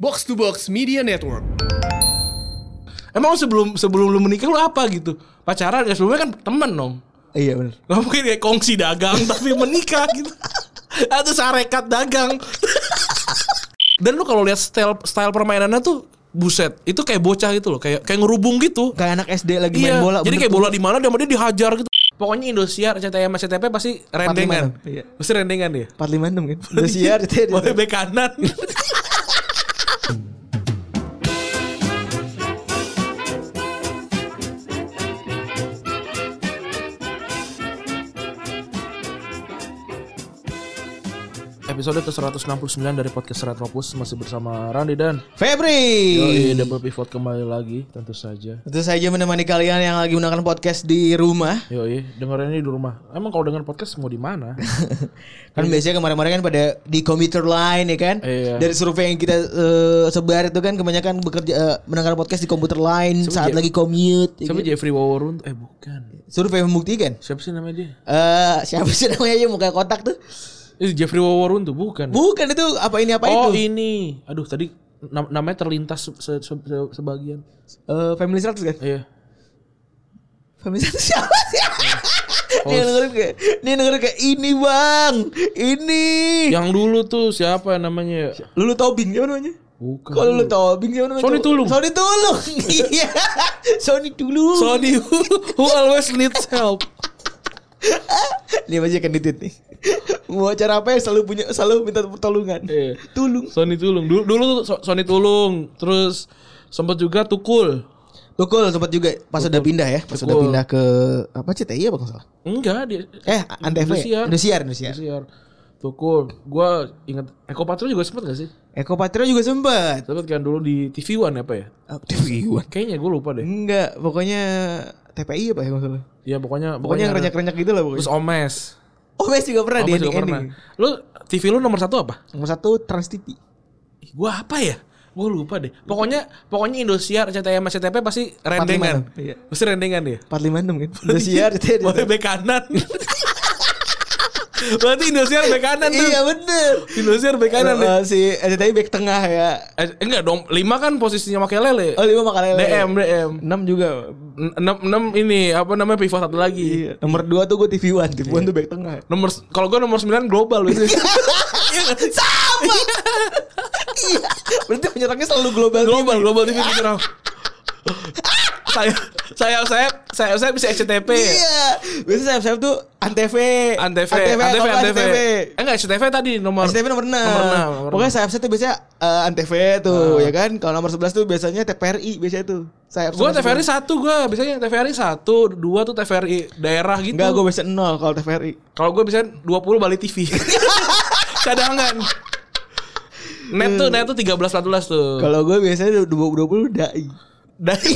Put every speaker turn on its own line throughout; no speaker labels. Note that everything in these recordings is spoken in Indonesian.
Box to Box Media Network.
Emang sebelum sebelum lu menikah lu apa gitu? Pacaran ya sebelumnya kan temen dong.
Iya benar.
Gak mungkin kayak kongsi dagang tapi menikah gitu. Atau sarekat dagang. Dan lu kalau lihat style style permainannya tuh buset, itu kayak bocah gitu loh, kayak kayak ngerubung gitu.
Kayak anak SD lagi
Iya,
main bola.
jadi
bener
kayak
tuh.
bola di mana dia sama dia dihajar gitu. Pokoknya Indosiar, CTM, sama CTP pasti rendengan.
Iya.
Pasti rendengan dia.
456 kan. Udah siar gitu ya.
Boleh bek kanan. Episode ke-169 dari podcast Retropus masih bersama Randy dan
Febri.
Yoi Double Pivot kembali lagi tentu saja.
Tentu saja menemani kalian yang lagi mendengarkan podcast di rumah.
Yoi, dengerin ini di rumah. Emang kalau denger podcast mau di mana?
Kan biasanya kemarin-kemarin kan pada di computer line ya kan.
Iya.
Dari survei yang kita eh, sebar itu kan kebanyakan bekerja eh, mendengar podcast di computer line saat
dia?
lagi commute. ya
Siapa
kan?
Jeffrey Waworun? Eh bukan.
Survei membuktikan.
Siapa sih namanya dia?
Eh siapa sih namanya aja muka kotak tuh?
Eh, Jeffrey Waworun tuh bukan.
Bukan itu apa ini apa
oh
itu?
ini, aduh tadi nam- namanya terlintas se- se- se- sebagian.
Eh, family 100 kan?
Iya.
Family 100 siapa sih? Dia dengerin kayak dia dengerin kayak ini bang, ini.
Yang dulu tuh siapa namanya? ya?
Lulu Tobing siapa namanya?
Bukan.
Kalau Lulu Tobing siapa namanya?
Sony Tulung.
Sony Tulung. Iya. Sony Tulung.
Sony who, who always needs help.
Dia masih akan ditit nih. Mau acara apa ya selalu punya selalu minta pertolongan.
Iya.
Tulung.
Sony Tulung. Dulu, dulu tuh So- Sony Tulung. Terus sempat juga Tukul.
Tukul sempat juga pas udah pindah ya, pas udah
Tukul.
pindah ke apa CTI apa nggak salah?
Enggak dia.
Eh, Antv.
Indosiar.
ya? Indosiar, Indosiar.
Siar. Tukul. Gua inget Eko Patrio juga sempat gak sih?
Eko Patrio juga sempat.
Sempat kan dulu di TV One apa ya?
TV One.
Kayaknya gue lupa deh.
Enggak, pokoknya TPI apa ya nggak salah?
Ya pokoknya
Pokoknya yang renyak-renyak gitu lah
Terus
pokoknya.
Omes.
Oh, Mes juga pernah di
Omes juga
ending
pernah. Lu TV lu nomor satu apa?
Nomor satu Trans TV.
Ih, Gua apa ya? Gua lupa deh. Pokoknya pokoknya Indosiar, CTM, CTP pasti rendengan.
Emang, iya.
Pasti rendengan dia.
456 kan. Indosiar gitu ya.
Boleh bek kanan. Berarti Indosiar bek kanan tuh.
Iya bener.
Indosiar bek kanan. deh.
Eh, si SCTI back tengah ya.
Eh, enggak dong, lima kan posisinya pakai lele.
Oh, lima makan lele.
DM, DM.
6 juga.
En- Enam, enam ini apa namanya pivot satu lagi.
Iya. Nomor 2 tuh gue TV One, TV One tuh back tengah.
Nomor kalau gua nomor 9 global berarti. Iya nggak sih?
iya. Berarti penyerangnya selalu global.
global, global TV Putra. saya saya saya saya saya bisa SCTP.
Iya. Biasanya sayap-sayap tuh Antv.
Antv,
Antv,
Antv,
apa,
Antv.
Antv.
Eh enggak, SCTV tadi nomor
STP nomor 6.
Nomor enam, nomor
Pokoknya sayap sayap tuh biasanya eh, Antv tuh, ya kan? Kalau nomor 11 tuh biasanya TPRI biasanya tuh. Sayap
Gue TVRI satu gue biasanya TVRI satu dua tuh TVRI daerah gitu.
Enggak, gue biasanya 0 kalau TVRI.
Kalau gue biasanya 20 Bali TV. Cadangan. kan. Net tuh net tuh 13 14 tuh.
Kalau gue biasanya 20 dai.
Dai eh,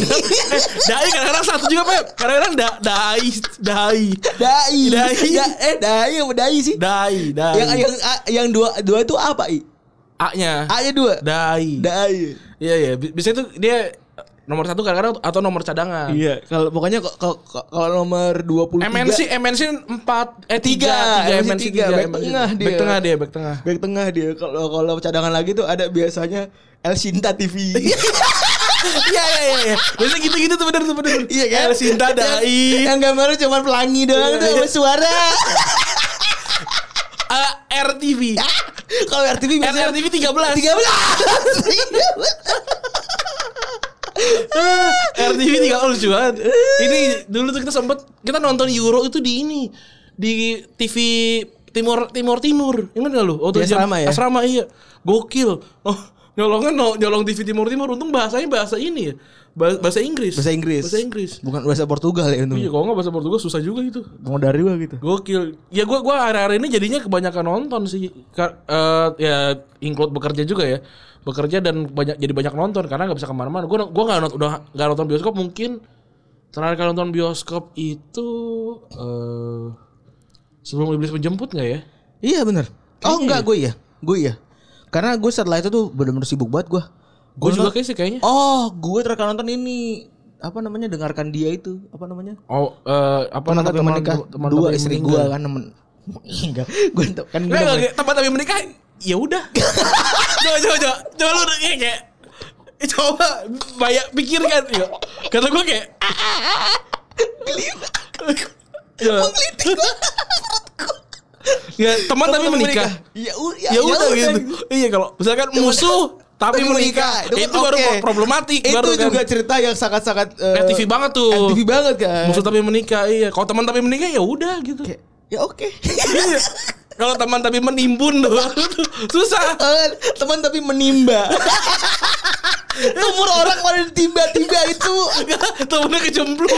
dai kadang-kadang satu juga Pep. Kadang-kadang da, dai dai
Dai.
Dai.
Da, eh dai apa dai sih?
dai dai.
Yang yang a- yang dua dua itu apa, I?
A-nya.
A-nya dua.
Dai.
Dai.
Iya iya, Bi- biasanya tuh dia nomor satu kadang-kadang atau nomor cadangan.
Iya, kalau pokoknya ko- ko- ko- kalau nomor 23
MNC MNC 4 eh 3
Tiga, MNC tiga, back
MNC.
tengah dia.
Back tengah dia, back tengah.
back tengah dia. Kalau kalau cadangan lagi tuh ada biasanya El Sinta TV.
Iya iya iya iya. Biasanya gitu-gitu tuh bener tuh bener.
Iya kan?
El Sinta Dai.
Yang gambarnya cuma pelangi doang
Iya,
tuh
iya.
sama suara.
Ah, RTV.
Kalau RTV biasanya
RTV 13.
13.
RTV 13 lucu banget. Ini dulu tuh kita sempet kita nonton Euro itu di ini di TV Timur Timur Timur. Ingat gak lu? Waktu
Di asrama ya?
Asrama iya. Gokil. Oh, nyolongnya no- nyolong TV Timur Timur untung bahasanya bahasa ini ya. Ba- Bahasa Inggris.
Bahasa Inggris.
Bahasa Inggris.
Bukan bahasa Portugal
Iya,
ya untung.
kalau nggak bahasa Portugal susah juga itu.
Mau dari gua gitu.
Gokil. Ya gua gua hari-hari ini jadinya kebanyakan nonton sih. Ka- eh, ya include bekerja juga ya. Bekerja dan banyak jadi banyak nonton karena nggak bisa kemana mana Gua gua nggak nonton udah nggak nonton bioskop mungkin terakhir kali nonton bioskop itu eh sebelum iblis menjemput nggak ya?
Iya bener. Oh enggak
gitu.
gue iya. Gue iya. Karena gue setelah itu tuh bener-bener sibuk banget gue.
Gue juga kayak sih kayaknya.
Oh, gue terakhir nonton ini apa namanya dengarkan dia itu apa namanya
Oh, eh, apa
teman
namanya
tapi menikah
teman
dua
tapi
istri
meninggal.
gue kan temen enggak gue kan
Nggak,
gua
nggak, teman tapi menikah ya udah coba coba coba coba lu kayak kayak eh, coba banyak pikirkan ya kata gue kayak Coba.
Menggelitik gua.
ya teman tapi menikah
Ya, u-
ya udah gitu iya kalau misalkan musuh tapi menikah
kan
itu baru
oke.
problematik
Itu
baru kan
juga cerita yang sangat-sangat eh,
RTV banget tuh
RTV banget kan.
musuh tapi menikah iya kalau teman tapi menikah ya udah gitu
Kayak, ya oke.
Iya. kalau teman tapi menimbun tuh susah
Eh, teman tapi menimba. Umur orang pada tiba-tiba itu
temennya kecemplung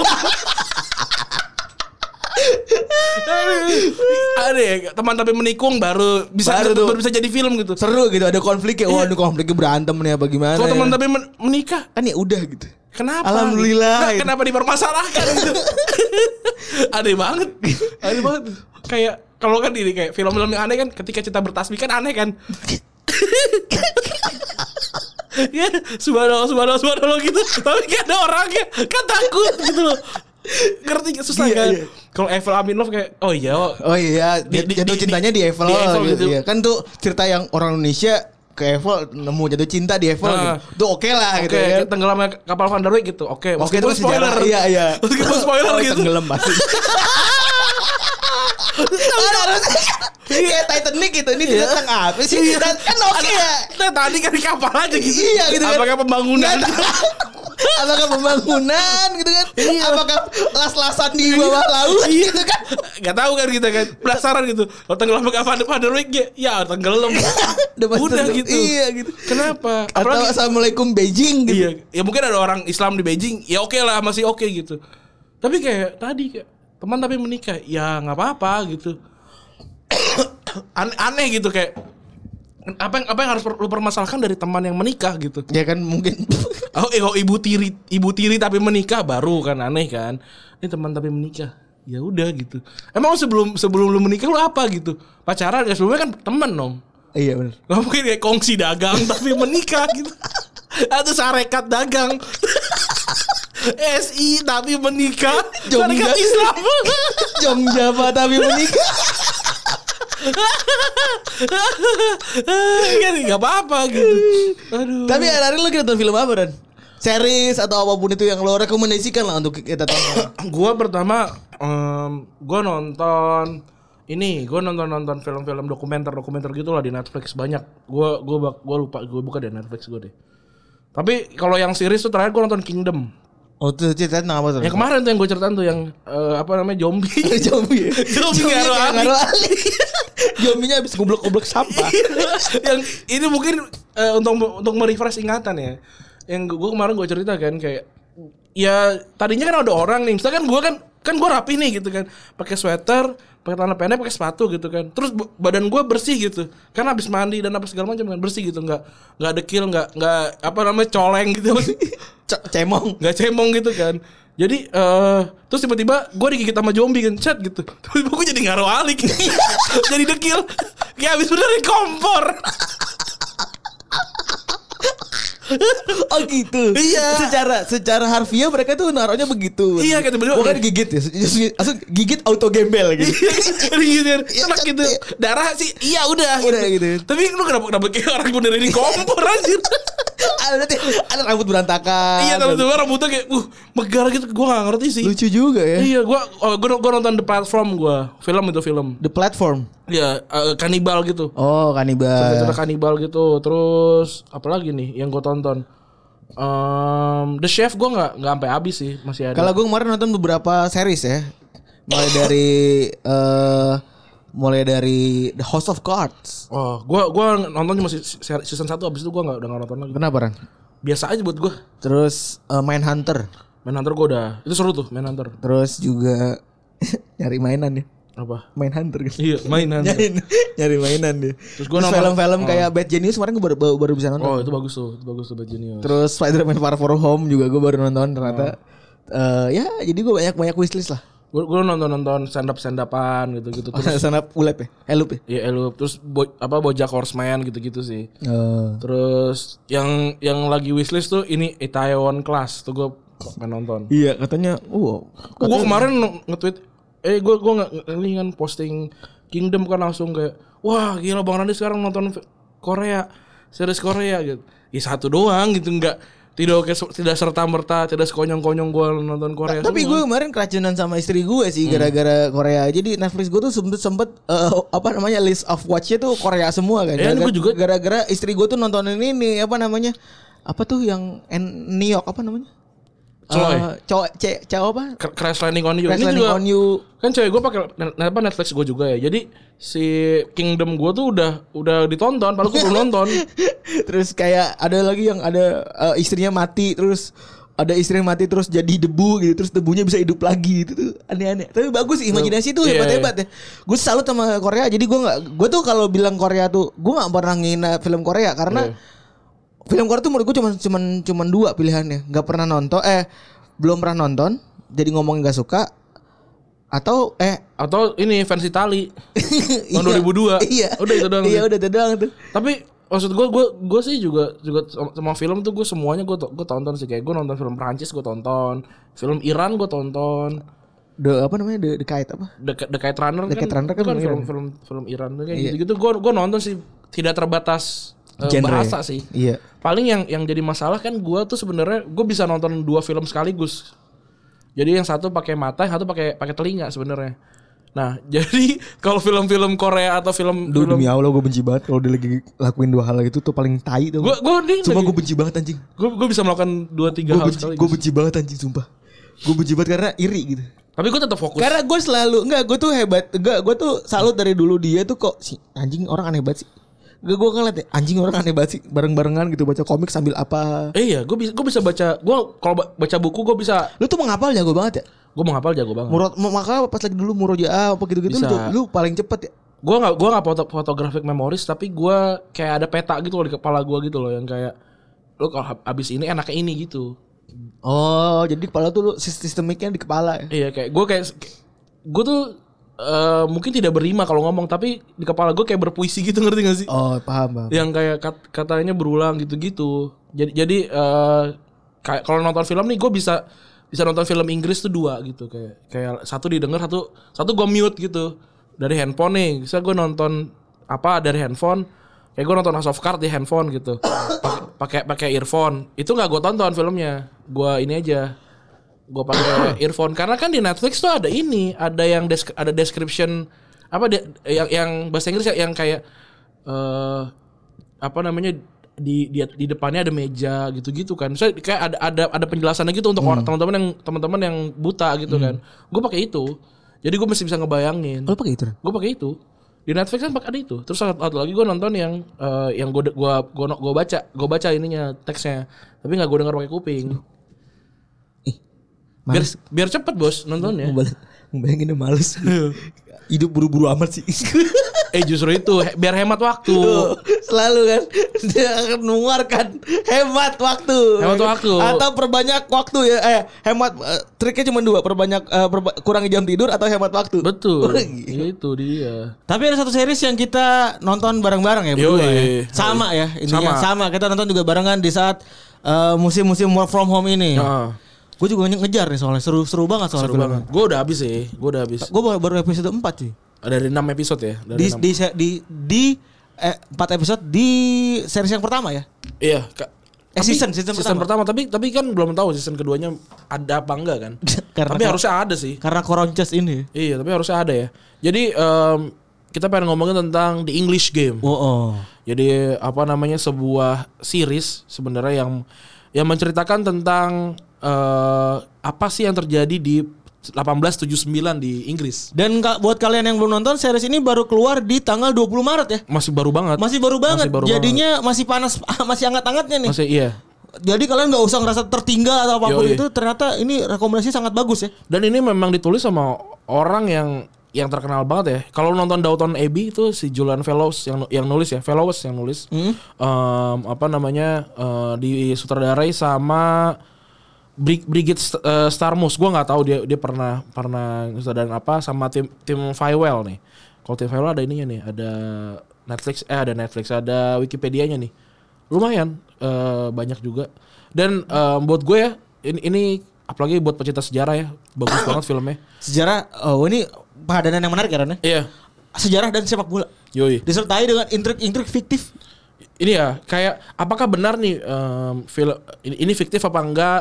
ada ya teman tapi menikung baru bisa
Baru tuh.
baru bisa jadi film gitu
seru gitu ada konfliknya. Wah,
Iya.
ini konfliknya berantem nih apa gimana?
kalau teman
ya.
tapi men- menikah
kan ya udah gitu.
Kenapa?
Alhamdulillah.
Nah, kenapa dipermasalahkan gitu? aneh banget. Aneh banget. Kayak kalau kan ini kayak film-film yang aneh kan ketika cinta bertasbih kan aneh kan. ya, subhanallah, subhanallah, subhanallah gitu. Tapi gak ada orangnya. Kan takut gitu loh. Ngerti gak? susah
Iya,
kan?
iya.
Kalau Evel Aminov kayak oh iya. oh,
Oh iya,
Di- di-
jatuh
di-
cintanya di Evel,
di Eiffel
gitu.
gitu.
Iya. Kan tuh cerita yang orang Indonesia ke Evel nemu jatuh cinta di Evel
Ah.
gitu. Tuh oke lah
Oke,
gitu ya.
kayak tenggelamnya kapal Van der Wijk gitu. Oke,
Oke,
meskipun
terus spoiler.
spoiler.
Iya, iya.
Meskipun spoiler
Oh,
gitu.
Tenggelam pasti. Ada harusnya kayak Titanic gitu. Ini cerita tentang apa sih?
Iya.
Dan kan oke ya.
Nah, tadi kan di kapal aja gitu.
Iya, gitu kan.
Apakah pembangunan?
Nggak tahu. Apakah pembangunan gitu kan? Apakah las-lasan di bawah
Iya.
laut gitu kan?
Gak tahu kan kita kan penasaran gitu. Kalau tenggelam ke Van Van der Wijk ya, ya tenggelam.
Udah pasti
Udah
tuh.
gitu.
Iya, gitu.
Kenapa?
Atau
Apalagi
Assalamualaikum Beijing gitu.
iya, ya mungkin ada orang Islam di Beijing, ya oke lah masih oke gitu. Tapi kayak tadi kayak teman tapi menikah, ya nggak apa-apa gitu. Ane- aneh gitu kayak apa yang apa yang harus per- lu permasalahkan dari teman yang menikah gitu.
Ya kan mungkin
Oh, eh, kalau ibu tiri, ibu tiri tapi menikah baru kan aneh kan. Ini teman tapi menikah. Ya udah gitu. Emang lu sebelum sebelum lu menikah lu apa gitu? Pacaran ya sebelumnya kan temen dong.
Iya benar.
Gak mungkin kayak kongsi dagang tapi menikah gitu. Atau sarekat dagang. SI tapi menikah.
Jogja.
Sarekat Islam.
Jong Java tapi menikah.
kan gak apa-apa gitu. Aduh.
tapi hari-hari lu nonton film apa dan? Series atau apapun itu yang lo rekomendasikan lah untuk kita tonton.
gua pertama em, gua nonton ini gua nonton nonton film-film dokumenter dokumenter gitulah di Netflix banyak gua gua bak- gua lupa gua buka di Netflix gua deh tapi kalau yang series tuh terakhir gua nonton Kingdom
oh tuh cerita tentang apa tuh?
yang kemarin tuh yang gua ceritain tuh yang eh, apa namanya zombie
Zombie.
Zombie
Zombie
ngaruh
kayak
Ali.
ngaruh Ali. Zombinya habis goblok-goblok sampah.
yang ini mungkin eh, untuk untuk merefresh ingatan ya yang gue kemarin gue cerita kan kayak ya tadinya kan ada orang nih misalkan gue kan kan gue rapi nih gitu kan pakai sweater pakai celana pendek pakai sepatu gitu kan terus bu- badan gue bersih gitu karena habis mandi dan apa segala macam kan bersih gitu nggak nggak dekil nggak nggak apa namanya coleng gitu
C- cemong.
nggak cemong gitu kan jadi eh terus tiba-tiba gue digigit sama zombie kan chat gitu tiba-tiba gue jadi ngaruh alik jadi dekil kayak habis benerin kompor
Oh gitu.
Iya.
Secara secara harfiah mereka tuh naruhnya begitu.
Iya, kayak tiba-tiba-
Bukan gigit ya. Langsung gigit auto gembel gitu.
Digigit
Iya,
serak gitu darah sih iya udah
Udah gitu.
tapi lu kenapa kenapa kayak orang benerin kompor anjir
ada nanti gitu. Ah, ada rambut berantakan.
iya tapi tiba rambutnya kayak uh megar gitu gue gak ngerti sih
Ah, Lucu juga ya.
iya gue gue nonton the platform gue film itu film
The platform.
ya eh, kanibal gitu
Oh, kanibal.
cerita kanibal gitu terus apalagi nih yang gue tonton Em, The Chef gue nggak nggak sampai habis sih masih ada
Kalau gue kemarin nonton beberapa series ya, mulai dari eh mulai dari The House of Cards.
oh gue gua nonton cuma se- se- season 1 abis itu gue nggak udah nggak nonton lagi
Kenapa Ran?
biasa aja buat gue
Terus eh, Mindhunter,
Manhunter gue udah itu seru tuh Manhunter
terus juga nyari mainan ya,
apa
Mindhunter gitu.
iya mainan
Nyari, nyari mainan dia. Terus Oh.
gua nonton-
film-film kayak Bad Genius kemarin gue baru, baru, baru bisa nonton.
oh itu bagus tuh itu bagus tuh Bad Genius
Terus Spider-Man Far From Home juga gue baru nonton ternyata. Eh, ya jadi gue banyak banyak wishlist lah.
gue gue nonton nonton stand up stand upan gitu gitu terus
Sana ulep ya, elup ya.
ya elu terus bo, apa Bojack Horseman gitu gitu sih
Eh,
terus yang yang lagi wishlist tuh ini Itaewon Class tuh gue pengen nonton
iya katanya, wow.
gue kemarin nge- nge-tweet eh gue gue nggak ngelingan posting Kingdom kan langsung kayak wah gila Bang Randi sekarang nonton fi- Korea, series Korea gitu. Ya satu doang gitu nggak tidak oke tidak serta merta tidak sekonyong-konyong gua nonton Korea. Iya,
Tapi gue
semua. Hmm.
kemarin keracunan sama istri gue sih gara-gara Korea. Jadi Netflix gue tuh sempet sempet eh, apa namanya list of watch-nya tuh Korea semua kan.
Iya,
Gara-gara-
gue juga.
gara-gara istri gue tuh nontonin ini apa namanya? Apa tuh yang N- New York apa namanya?
Choi.
Eh, Choi- C- Chao apa?
Cr- Crash Landing on You.
Crash
Ini
Landing
juga
on You.
kan cewek gue pakai net- apa Netflix gue juga ya. Jadi si Kingdom gue tuh udah udah ditonton, padahal gue belum nonton.
terus kayak ada lagi yang ada eh, istrinya mati terus ada istri yang mati terus jadi debu gitu terus debunya bisa hidup lagi gitu tuh aneh-aneh tapi bagus sih, imajinasi tuh
Iya,
hebat hebat ya gue salut sama Korea jadi gue nggak gue tuh kalau bilang Korea tuh gue nggak pernah ngina film Korea
Iya.
karena film Korea tuh menurut gue cuman cuman cuman dua pilihannya nggak pernah nonton eh belum pernah nonton jadi ngomong nggak suka atau eh
Atau ini fans Itali.
tahun
2002.
iya
Oh, Udah itu doang.
iya udah itu doang tuh
Tapi maksud gue gue gue sih juga juga sama- sama film tuh gue semuanya gue gue tonton sih kayak gue nonton film Prancis gue tonton, film Iran gue tonton.
The, apa namanya the, the kite apa
The, The Kite Runner
The Kite Runner kan
kan
film
film,
Iran.
film film Iran tuh kayak
Iya.
gitu-gitu gue gue nonton sih tidak terbatas eh,
Genre.
bahasa sih.
iya
paling yang yang jadi masalah kan gua tuh sebenarnya gue bisa nonton dua film sekaligus jadi yang satu pakai mata yang satu pakai pakai telinga sebenarnya nah jadi kalau film-film Korea atau film
Duh,
film
demi Allah gue benci banget kalau dia lagi lakuin dua hal itu tuh paling tai tuh.
gue gue nih
sumpah gue benci banget anjing.
gue bisa melakukan dua tiga
Gue
hal
benci,
sekaligus
gue benci banget anjing sumpah. Gue benci banget karena iri gitu.
tapi gue tetap fokus
Karena gue selalu enggak gue tuh hebat enggak gue tuh salut dari dulu dia tuh kok si anjing orang aneh banget sih. Gue gue ngeliat ya, anjing orang aneh banget sih bareng-barengan gitu baca komik sambil apa.
eh iya gue bisa gue bisa baca gue kalau ba- baca buku gue bisa
Lu tuh menghafal jago banget ya.
gue menghafal jago banget
Murad maka pas lagi dulu murojaah apa gitu-gitu lu,
Bisa.
jago- lu paling cepet ya.
gue nggak gue nggak foto fotografik memoris tapi gua kayak ada peta gitu loh di kepala gua gitu loh yang kayak lo kalau hab- habis ini enaknya ini gitu
Oh, jadi kepala tuh lu sistemiknya di kepala ya.
Iya kayak gue kayak gue tuh eh, mungkin tidak berima kalau ngomong tapi di kepala gue kayak berpuisi gitu ngerti gak sih?
Oh, paham, paham.
Yang kayak kat- katanya berulang gitu-gitu. Jadi jadi eh, kayak kalau nonton film nih gue bisa bisa nonton film Inggris tuh dua gitu kayak kayak satu didengar satu satu gue mute gitu dari handphone nih. Bisa gue nonton apa dari handphone kayak gue nonton House of Cards di handphone gitu Pakai- pakai pakai earphone itu nggak gue tonton filmnya gue ini aja gue pakai earphone karena kan di Netflix tuh ada ini ada yang desk- ada description apa de- yang yang bahasa Inggris ya, yang kayak eh apa namanya di di di depannya ada meja gitu-gitu kan. Saya kayak ada ada ada penjelasannya gitu untuk orang teman-teman yang teman-teman yang buta gitu kan. Gue pakai itu. Jadi gue masih bisa ngebayangin.
Oh, lu pakai itu. Ran?
Gue pakai itu. Di Netflix kan pakai ada itu. Terus satu, satu lagi gue nonton yang eh, yang gue gua gua gua baca, gue baca ininya teksnya. Tapi nggak gue dengar pakai kuping. Biar
Males.
biar cepet bos nontonnya.
Ngebal- Ngebayangin udah males Hidup buru-buru amat sih
Eh justru itu he- biar hemat waktu.
Tuh, Selalu kan Dia akan mengeluarkan Hemat waktu
Hemat waktu.
Atau perbanyak waktu ya Eh hemat eh, Triknya cuma dua Perbanyak eh, perba- Kurangi jam tidur Atau hemat waktu Gitu.
Betul.
Gila.
itu dia.
Tapi ada satu series yang kita nonton bareng-bareng ya
Yoi.
berdua ya. Sama ya intinya sama. Kita nonton juga barengan di saat eh, musim-musim work from home ini.
Heeh.
Gue juga ngejar nih soalnya seru-seru Ah. banget soalnya
Ah, Seru banget. Gue udah habis sih. Gue udah habis.
Gue baru episode 4 sih.
Dari 6 episode ya. Dari
di
enam.
di di di eh, empat episode di series yang pertama ya.
Iya. Kak.
Eh,
Tapi
season- season
pertama. tapi tapi kan belum tahu season keduanya ada apa enggak kan.
Karena-
tapi harusnya ada sih.
Karena Koronces ini.
Iya, tapi harusnya ada ya. Jadi em, kita pengen ngomongin tentang The English Game.
Oh, oh.
Jadi apa namanya sebuah series sebenarnya yang yang menceritakan tentang eh, apa sih yang terjadi di 1879 di Inggris.
Dan ka- buat kalian yang belum nonton series ini baru keluar di tanggal 20 Maret ya.
Masih baru banget.
Masih baru banget.
baru
Jadinya masih panas masih hangat-hangatnya nih.
Masih iya.
Jadi kalian nggak usah ngerasa tertinggal atau apapun
Yoi.
itu. Ternyata ini rekomendasi sangat bagus ya.
Dan ini memang ditulis sama orang yang yang terkenal banget ya. Kalau nonton Downton Abbey itu si Julian Fellows yang yang nulis ya, Fellows yang nulis.
Hmm.
Em, apa namanya eh, di sutradarai sama Brig- Brigid St- eh, Starmus. Gua nggak tahu dia dia pernah pernah sutradarain apa sama tim tim Firewell nih. Kalau tim Firewell ada ininya nih, ada Netflix eh ada Netflix, ada Wikipedia-nya nih. Lumayan eh, banyak juga. Dan em, buat gue ya ini, ini apalagi buat pecinta sejarah ya, bagus banget filmnya.
Sejarah oh ini padanan yang menarik ya Ran, ya.
Iya.
sejarah dan sepak bola.
Yoi.
Disertai dengan intrik-intrik fiktif.
Ini ya, kayak apakah benar nih em, film ini, ini fiktif apa enggak?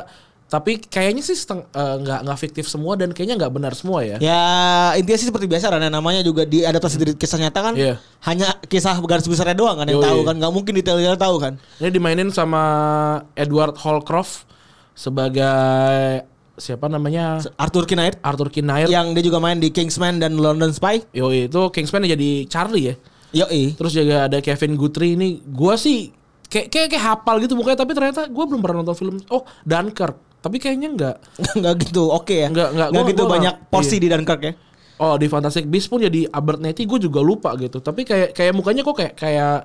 Tapi kayaknya sih seteng- eh, nggak nggak fiktif semua dan kayaknya nggak benar semua ya.
Ya intinya sih seperti biasa Rana namanya juga diadaptasi dari kisah nyata kan.
Iya.
Hanya kisah garis besarnya doang kan yang
Yoi.
tahu kan. Gak mungkin detailnya tahu kan.
Ini dimainin sama Edward Holcroft sebagai siapa namanya?
Arthur Knight
Arthur Kinair.
yang dia juga main di Kingsman dan London Spy.
Yoi, itu Kingsman yang jadi Charlie ya.
Yoi.
Terus juga ada Kevin Guthrie ini. Gua sih kayak kayak, kayak hafal gitu mukanya tapi ternyata gua belum pernah nonton film. Oh, Dunkirk. Tapi kayaknya enggak.
Enggak gitu. Oke ya.
Nggak- nggak. Gua-
gitu
gua
banyak
nggak-
porsi
iya.
di Dunkirk ya.
Oh, di Fantastic Beasts pun jadi Albert Netty gue juga lupa gitu. Tapi kayak kayak mukanya kok kayak kayak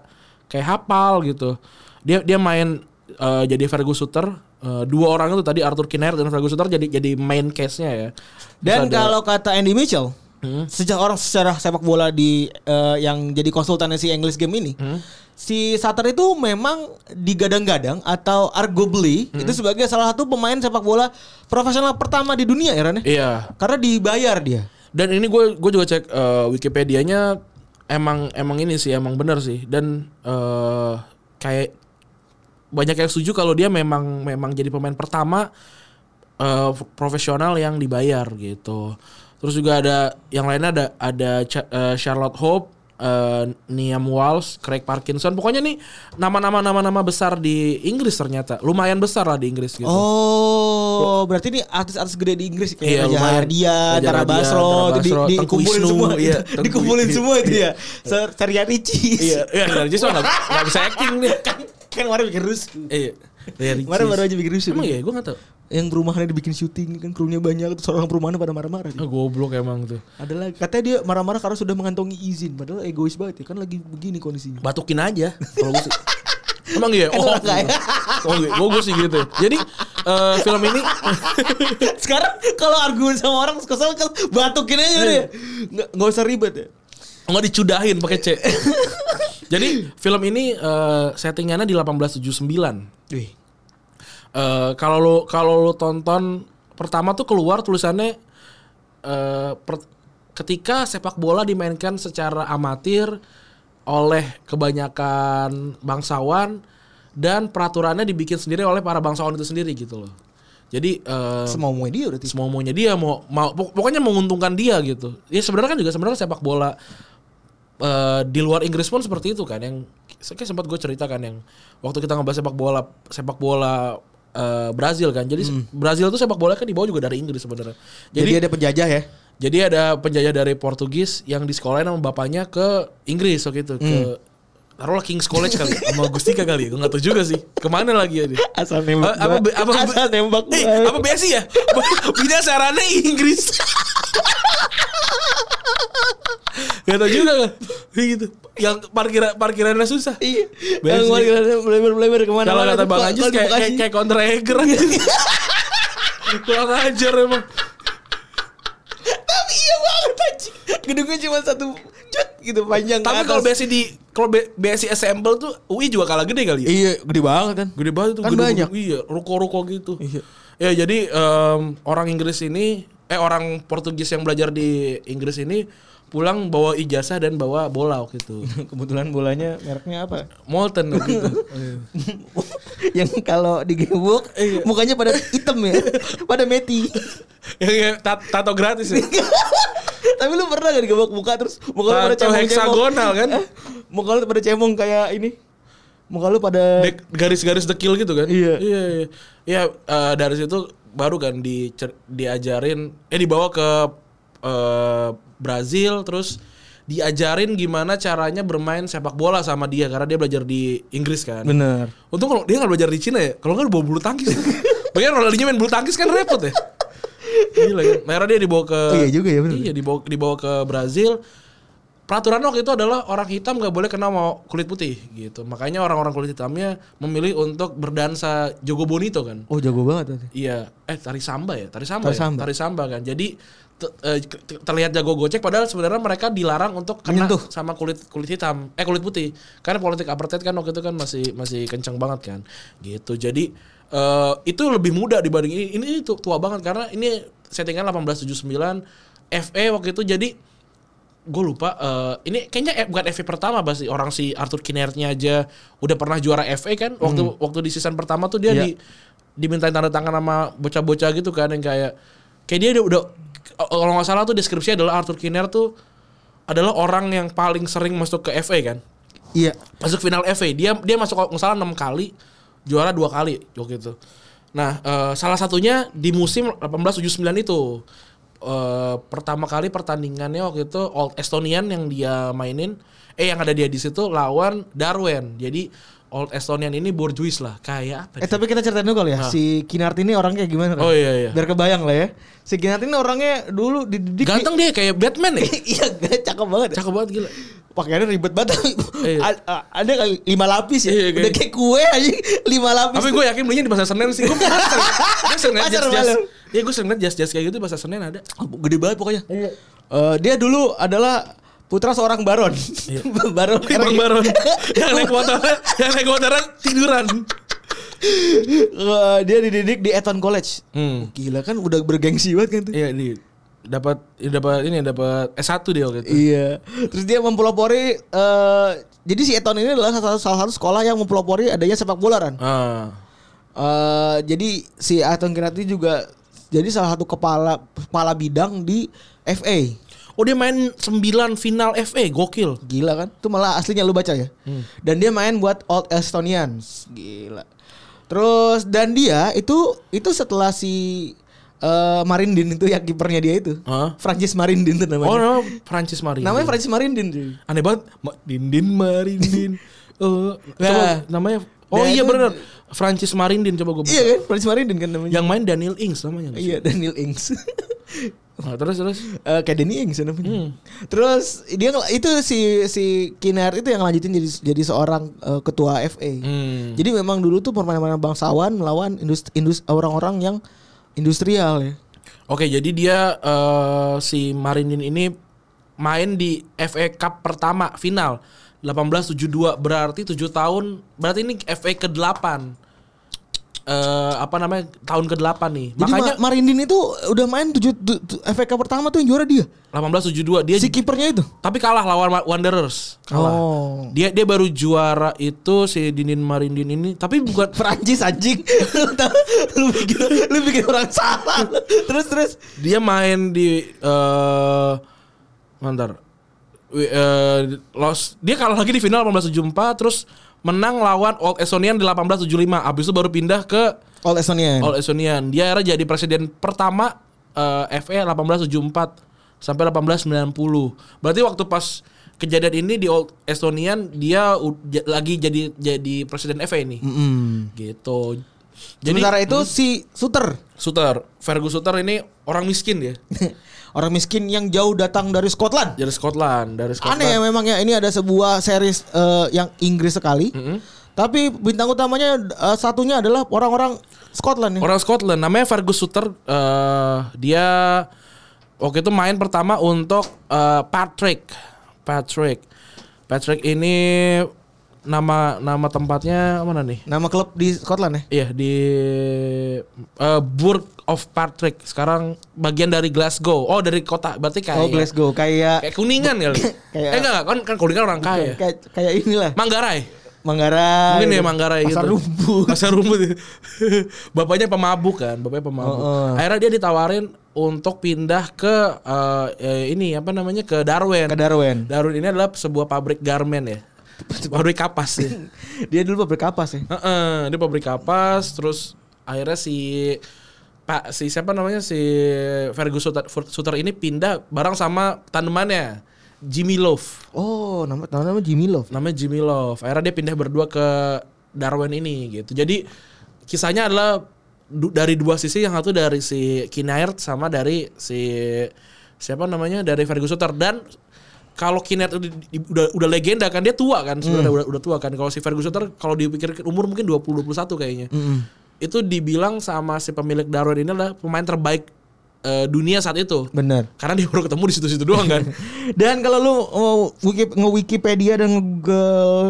kayak hafal gitu. Dia dia main eh, jadi Fergus Sutter. Eh, dua orang itu tadi Arthur Kinnaird dan Fergus Sutter jadi jadi main case-nya ya. Terus
Dan
ada- Hmm.
kalau kata Andy Mitchell, sejak orang secara sepak bola di eh, yang jadi konsultannya si English Game ini,
Hmm.
si Sutter itu memang digadang-gadang atau arguably
Hmm.
itu sebagai salah satu pemain sepak bola profesional pertama di dunia ya Ran, ya?
Iya.
Karena dibayar dia.
Dan ini gue gue juga cek eh, Wikipedia-nya emang emang ini sih emang benar sih dan eh, kayak banyak yang setuju kalau dia memang memang jadi pemain pertama eh, profesional yang dibayar gitu. Terus juga ada yang lainnya ada ada Cha- eh, Charlotte Hope, eh, Niamh Walsh, Craig Parkinson. Pokoknya nih nama-nama nama-nama besar di Inggris ternyata. Lumayan besar lah di Inggris gitu.
Oh, berarti ini artis-artis gede di Inggris kayak
Iya,
Raja
lumayan.
Hardian,
Raja
Tara
Hardian,
Basro,
Tara
itu di,
Basro, Tengku
dikumpulin
Wisnu,
semua,
iya,
itu.
Tengku
dikumpulin
Wisnu.
semua itu ya. Serian Ricis.
Iya, iya, dari Jisoo nggak nggak bisa acting dia.
Kan kemarin bikin rusuh.
Iya, dari
Kemarin baru
Jisoo.
aja bikin rusuh.
Emang ya, gue gak tau.
yang perumahannya dibikin syuting kan krunya banyak terus orang perumahannya pada marah-marah
Ah, goblok emang tuh.
adalah katanya dia marah-marah karena sudah mengantongi izin padahal egois banget ya kan lagi begini kondisinya
Batukin aja. Kalau gue sih. Emang iya? Oh,
Kan orang kaya.
oh gue, gue sih gitu. Jadi eh, film ini
sekarang kalau argumen sama orang kesel kesel batukin aja udah ya. nggak nggak usah ribet ya
nggak dicudahin pakai C. Jadi film ini eh, settingannya di 1879. Eh,
Wih.
kalau lo kalau lo tonton pertama tuh keluar tulisannya eh, per- ketika sepak bola dimainkan secara amatir oleh kebanyakan bangsawan dan peraturannya dibikin sendiri oleh para bangsawan itu sendiri gitu loh. Jadi eh,
semau mau dia berarti
semua maunya dia mau mau pok- pokoknya menguntungkan dia gitu ya sebenarnya kan juga sebenarnya sepak bola eh, di luar Inggris pun seperti itu kan yang kayak sempat gue ceritakan yang waktu kita ngebahas sepak bola sepak bola eh, Brazil kan jadi Brazil tuh sepak bola kan dibawa juga dari Inggris sebenarnya
jadi,
jadi
ada penjajah ya
jadi ada penjajah dari Portugis yang disekolahin sama bapaknya ke Inggris waktu itu ke
Hmm.
taruhlah King's College kali sama Gustika kali ya gue nggak tahu juga sih kemana lagi ya dia
asal
apa apa
apa,
apa
asal nembak
Eh, apa BSI ya? Bina sarannya Inggris. Gak tau juga kan? Kayak gitu. Yang parkiran parkirannya susah.
iya
Best
yang
sih.
melebar melebar kemana
Kalau kata Bang Ajis kayak kayak, kayak counter hacker aja. Kurang ajar emang.
tapi iya banget anjing gedungnya cuma satu jut gitu panjang ke
Tapi kalau
atas.
BSI di kalau B- BSI assemble tuh UI juga kalah gede kali ya.
iya gede banget kan
Gede banget tuh
Kan
gedung-
banyak.
Iya, ruko-ruko gitu.
Iya.
Ya jadi em, orang Inggris ini eh orang Portugis yang belajar di Inggris ini pulang bawa ijazah dan bawa bola waktu itu.
kebetulan bolanya mereknya apa
Molten waktu itu.
yang kalau digebuk
Iya.
mukanya pada hitam ya pada meti
Yang kayak Ya, tat- tato gratis ya.
tapi lu pernah gak digebuk muka terus muka lu pada
Tato
cemong
heksagonal kan?
muka lu pada cemong kayak ini muka lu pada
Dek- Garis-garis dekil gitu kan.
Iya.
Iya, iya. Ya eh, dari situ baru kan dicer- diajarin eh dibawa ke eh, Brazil terus diajarin gimana caranya bermain sepak bola sama dia karena dia belajar di Inggris kan.
bener
Untung kalau dia nggak belajar di Cina ya. Kalau nggak bawa bulu tangkis. Bagian Ronaldinho main bulu tangkis kan repot ya. Gila kan. Nah, Akhirnya dia dibawa ke
Oh iya juga ya, bener.
Iya dibawa dibawa ke Brazil. Peraturan waktu itu adalah orang hitam nggak boleh kena mau kulit putih gitu. Makanya orang-orang kulit hitamnya memilih untuk berdansa jogo bonito kan.
oh jago banget berarti.
Iya, eh tari samba ya, tari samba,
Tari
ya?
samba.
tari samba kan. Jadi te- eh, ke- terlihat jago gocek padahal sebenarnya mereka dilarang untuk kena
Menyentuh.
sama kulit kulit hitam, eh kulit putih. Karena politik apartheid kan waktu itu kan masih masih kencang banget kan. Gitu. Jadi eh, itu lebih muda dibanding ini. Ini tuh tua banget karena ini settingan 1879 FA waktu itu E jadi gue lupa eh, ini kayaknya eh, bukan FA pertama pasti orang si Arthur Kinertnya aja udah pernah juara FA kan waktu waktu di season pertama tuh dia
Iya.
di dimintain tanda tangan sama bocah-bocah gitu kan yang kayak kayak dia udah, udah kalau nggak salah tuh deskripsinya adalah Arthur Kiner tuh adalah orang yang paling sering masuk ke FA kan
Iya.
masuk final FA dia dia masuk kalau nggak salah enam kali juara dua kali waktu itu nah eh, salah satunya di musim 1879 itu eh, pertama kali pertandingannya waktu itu Old Estonian yang dia mainin eh yang ada dia di situ lawan Darwen jadi Old Estonian ini borjuis lah kayak apa dia?
Eh tapi kita ceritain dulu kali ya si Kinart ini orangnya gimana? Ren?
oh iya iya
Biar kebayang lah ya. Si Kinart ini orangnya dulu dididik
ganteng dia kayak Batman ya
Iya, cakep banget.
cakep banget gila
Pakaiannya ribet banget.
Iya.
A- a- Ada kali lima lapis ya.
Iya, kayak-
Udah kayak kue aja lima lapis.
tapi gue yakin belinya di pasar Senen sih gue sering gue sering liat
Pasar
jas-jas
malam.
iya gue sering liat jas-jas kayak gitu di pasar Senen ada Iya.
gede banget pokoknya. Eh, dia dulu adalah putra seorang baron.
Iya.
baron. Eh,
Bang
RI.
Baron yang naik motornya yang naik motornya tiduran
Eh, dia dididik di Eton College.
Hmm.
Gila kan udah bergengsi banget kan tuh.
iya di dapat ya, dapat ini dapat S1 dia waktu itu
Iya. Terus dia mempelopori eh jadi si Eton ini adalah salah satu, salah satu sekolah yang mempelopori adanya sepak bola kan.
ah
Eh, jadi si Eton Kinarti juga jadi salah satu kepala kepala bidang di FA.
oh dia main 9 final FA gokil
Gila kan? Itu malah aslinya lu baca ya. Dan dia main buat Old Estonians. Gila. Terus dan dia itu itu setelah si eh, Marindin itu yang kipernya dia itu.
Hah?
Francis Marindin itu namanya.
oh nama Francis Marindin
Namanya Francis Marindin. cuy.
aneh banget Ma- Dindin Marindin Eh, coba
Nah.
namanya oh
Nah,
iya
itu-
benar Francis Marindin coba gue
Iya kan? Francis Marindin kan namanya.
yang main Daniel Ings namanya nggak sih?
Iya Daniel Ings.
Nah, terus terus
Eh, kayak Danny Ings ya namanya.
Hmm.
Terus dia ngel- itu si si Kinar itu yang lanjutin jadi jadi seorang eh, ketua FA.
Hmm.
Jadi memang dulu tuh permainan bangsawan melawan industri, orang-orang yang industrial ya.
Oke, jadi dia eh, si Marinin ini main di FA Cup pertama final 1872 berarti 7 tahun berarti ini FA ke-8. Eh apa namanya? Tahun ke-8 nih.
Jadi
Makanya
Ma- Marindin itu udah main tujuh tu- tu- FA Cup pertama tuh yang juara dia.
1872 dia
Si kipernya itu.
tapi kalah lawan Ma- Wanderers. Kalah.
Oh.
Dia dia baru juara itu si Dinin Marindin ini, tapi bukan
Perancis anjing. Lu tau- lu bikin lu bikin orang salah. Terus terus
dia main di eh mantar Wi- eh, lost dia kalah lagi di final 1874 terus menang lawan Old Estonian di 1875 abis itu baru pindah ke
All Estonian.
Old Estonian dia era jadi presiden pertama eh, FA 1874 sampai 1890 berarti waktu pas kejadian ini di Old Estonian dia u- ja- lagi jadi jadi presiden FA ini gitu jadi
Hmm. Sementara itu si Suter
Suter Fergus Suter ini orang miskin ya
orang miskin yang jauh datang dari Scotland.
dari Scotland dari Scotland
Aneh ya memang ya ini ada sebuah series eh, yang Inggris sekali. Tapi bintang utamanya eh, satunya adalah orang-orang Scotland ya.
orang Scotland namanya Fergus Suter eh, dia waktu itu main pertama untuk eh, Patrick Patrick Patrick ini nama nama tempatnya mana nih
Nama klub di Scotland ya.
Iya di eh, Burg of Patrick sekarang bagian dari Glasgow oh dari kota berarti kayak
Oh Glasgow kayak
iya. kayak kuningan kali
Kayak-
eh enggak enggak, kan kan kuningan orang kaya
kayak kayak inilah.
Manggarai
Manggarai.
Mungkin ya Manggarai
Pasar
gitu.
rumput.
Pasar rumput. Bapaknya pemabuk kan, bapaknya pemabuk.
Heeh.
Akhirnya dia ditawarin untuk pindah ke eh, eh, ini apa namanya ke Darwen.
Ke Darwen.
Darwen ini adalah sebuah pabrik garment ya. Pabrik kapas ya.
Dia dulu pabrik kapas ya.
Heeh, dia pabrik kapas terus akhirnya si Pak si siapa namanya si Fergus Suter, Suter ini pindah bareng sama tandemannya Jimmy Love.
Oh, nama nama Jimmy Love.
namanya Jimmy Love. Akhirnya dia pindah berdua ke Darwin ini gitu. Jadi kisahnya adalah du- dari dua sisi yang satu dari si Kinnaird sama dari si siapa namanya dari Fergus Sutter dan kalau Kinnaird udah, udah, udah legenda kan dia tua kan sebenarnya udah, udah tua kan. Kalau si Fergus Sutter kalau dipikir umur mungkin 20 21 kayaknya. Itu dibilang sama si pemilik Darwin ini adalah pemain terbaik eh, dunia saat itu.
Bener.
Karena dia baru ketemu di situ-situ doang kan.
Dan kalau lu mau wiki- nge-Wikipedia dan nge-Google